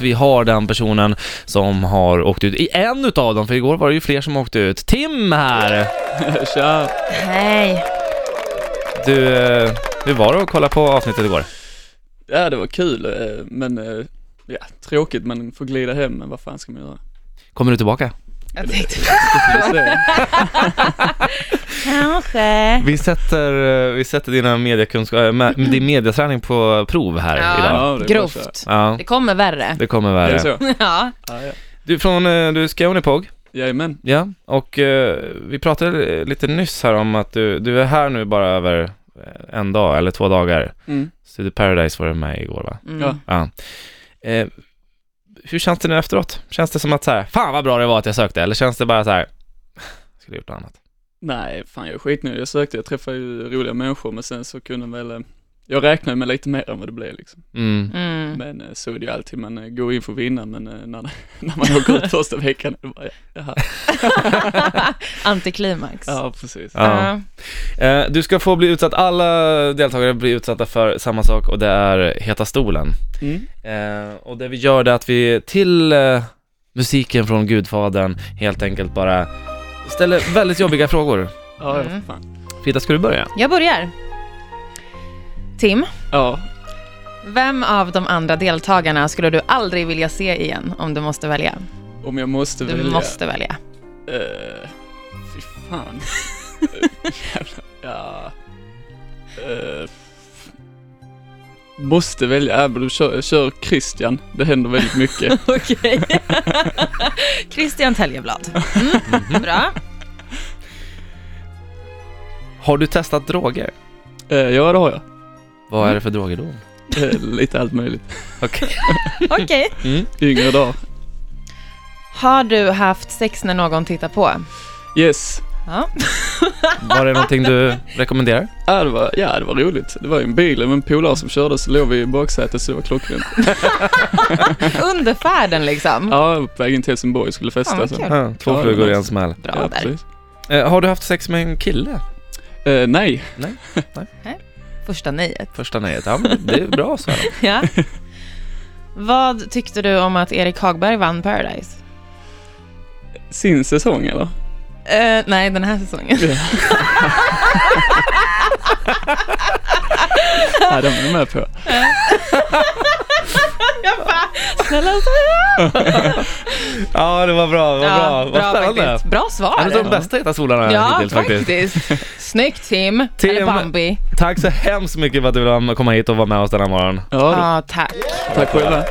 Vi har den personen som har åkt ut, i en utav dem, för igår var det ju fler som åkte ut. Tim här! Tja! Hej. Du, eh, hur var det att kolla på avsnittet igår? Ja det var kul eh, men eh, ja, tråkigt men får glida hem men vad fan ska man göra? Kommer du tillbaka? Jag tänkte Det får vi se. kanske. Vi sätter, eh, vi sätter dina mediekunskap, äh, med, din mediaträning på prov här Ja. idag. Ja, det är bara så. Grovt. Ja, Det kommer värre. det kommer Är det värre. så? Ja. Ja, ja. Du, från, eh, du är Skånepåg, Jajamän. ja, och eh, vi pratade eh, lite nyss här om att du, du är här nu bara över eh, en dag eller två dagar. Mm. Studio Paradise var du med igår va? Mm. Ja. Ja. Eh, hur känns det nu efteråt? Känns det som att så här, fan vad bra det var att jag sökte, eller känns det bara så här, skulle gjort något annat? Nej, fan jag är skitnöjd. Jag sökte, jag träffade ju roliga människor men sen så kunde väl eh, jag räknade med lite mer än vad det blev liksom. Mm. Mm. Men eh, så är det ju alltid, man eh, går in för att vinna men eh, när, när man åker ut första veckan, det bara, ja, jaha. Antiklimax. ja precis. Ja. Eh, du ska få bli utsatt, alla deltagare blir utsatta för samma sak och det är Heta stolen. Mm. Eh, och det vi gör det är att vi till eh, musiken från Gudfadern helt enkelt bara ställer väldigt jobbiga frågor. Ja, ja, Mm. för fan. Frida, ska du börja? Jag börjar. Tim, Ja, vem av de andra deltagarna skulle du aldrig vilja se igen om du måste välja? om jag måste Du välja. måste välja. Eh, fy fan. Jävlar. ja. Eh, måste välja, ja, men du kör, kör Christian. Det händer väldigt mycket. Okej. Christian Täljeblad. Mm. Bra. Har du testat droger? Eh, ja, det har jag. Vad är det för droger då? Eh, lite allt möjligt. Mm. Okej. Okej. Mm. Yngre dagar. Har du haft sex när någon tittar på? Yes. Ja. Var det någonting du rekommenderar? Ja det, var, ja, det var roligt. Det var ju en bil med en polare som körde så låg vi i baksätet så det var klockrent. Under färden liksom? Ja, jag var på vägen till Helsingborg och skulle Fan, festa. vad så. kul. Ja, två Ja, flugor i nice. en smäll. Bra ja, där. precis. Eh, har du haft sex med en kille? Eh, nej, Första nejet. Första nejet. Ja, men det är bra så här. Ja. Vad tyckte du om att Erik Hagberg vann Paradise? sin säsong eller? Eh, nej, den här säsongen. Ja, den var jag med på. Jag bara, snälla Ja, det var bra. Det var bra. Vad spännande. faktiskt. Bra En svar. av de bästa Heta solarna Ja, hittills faktiskt. faktiskt. Snyggt Tim. Tim. Eller Bambi. Tack så hemskt mycket för att du ville komma hit och vara med oss denna morgon. Ja, Ja, tack. då. tack själva.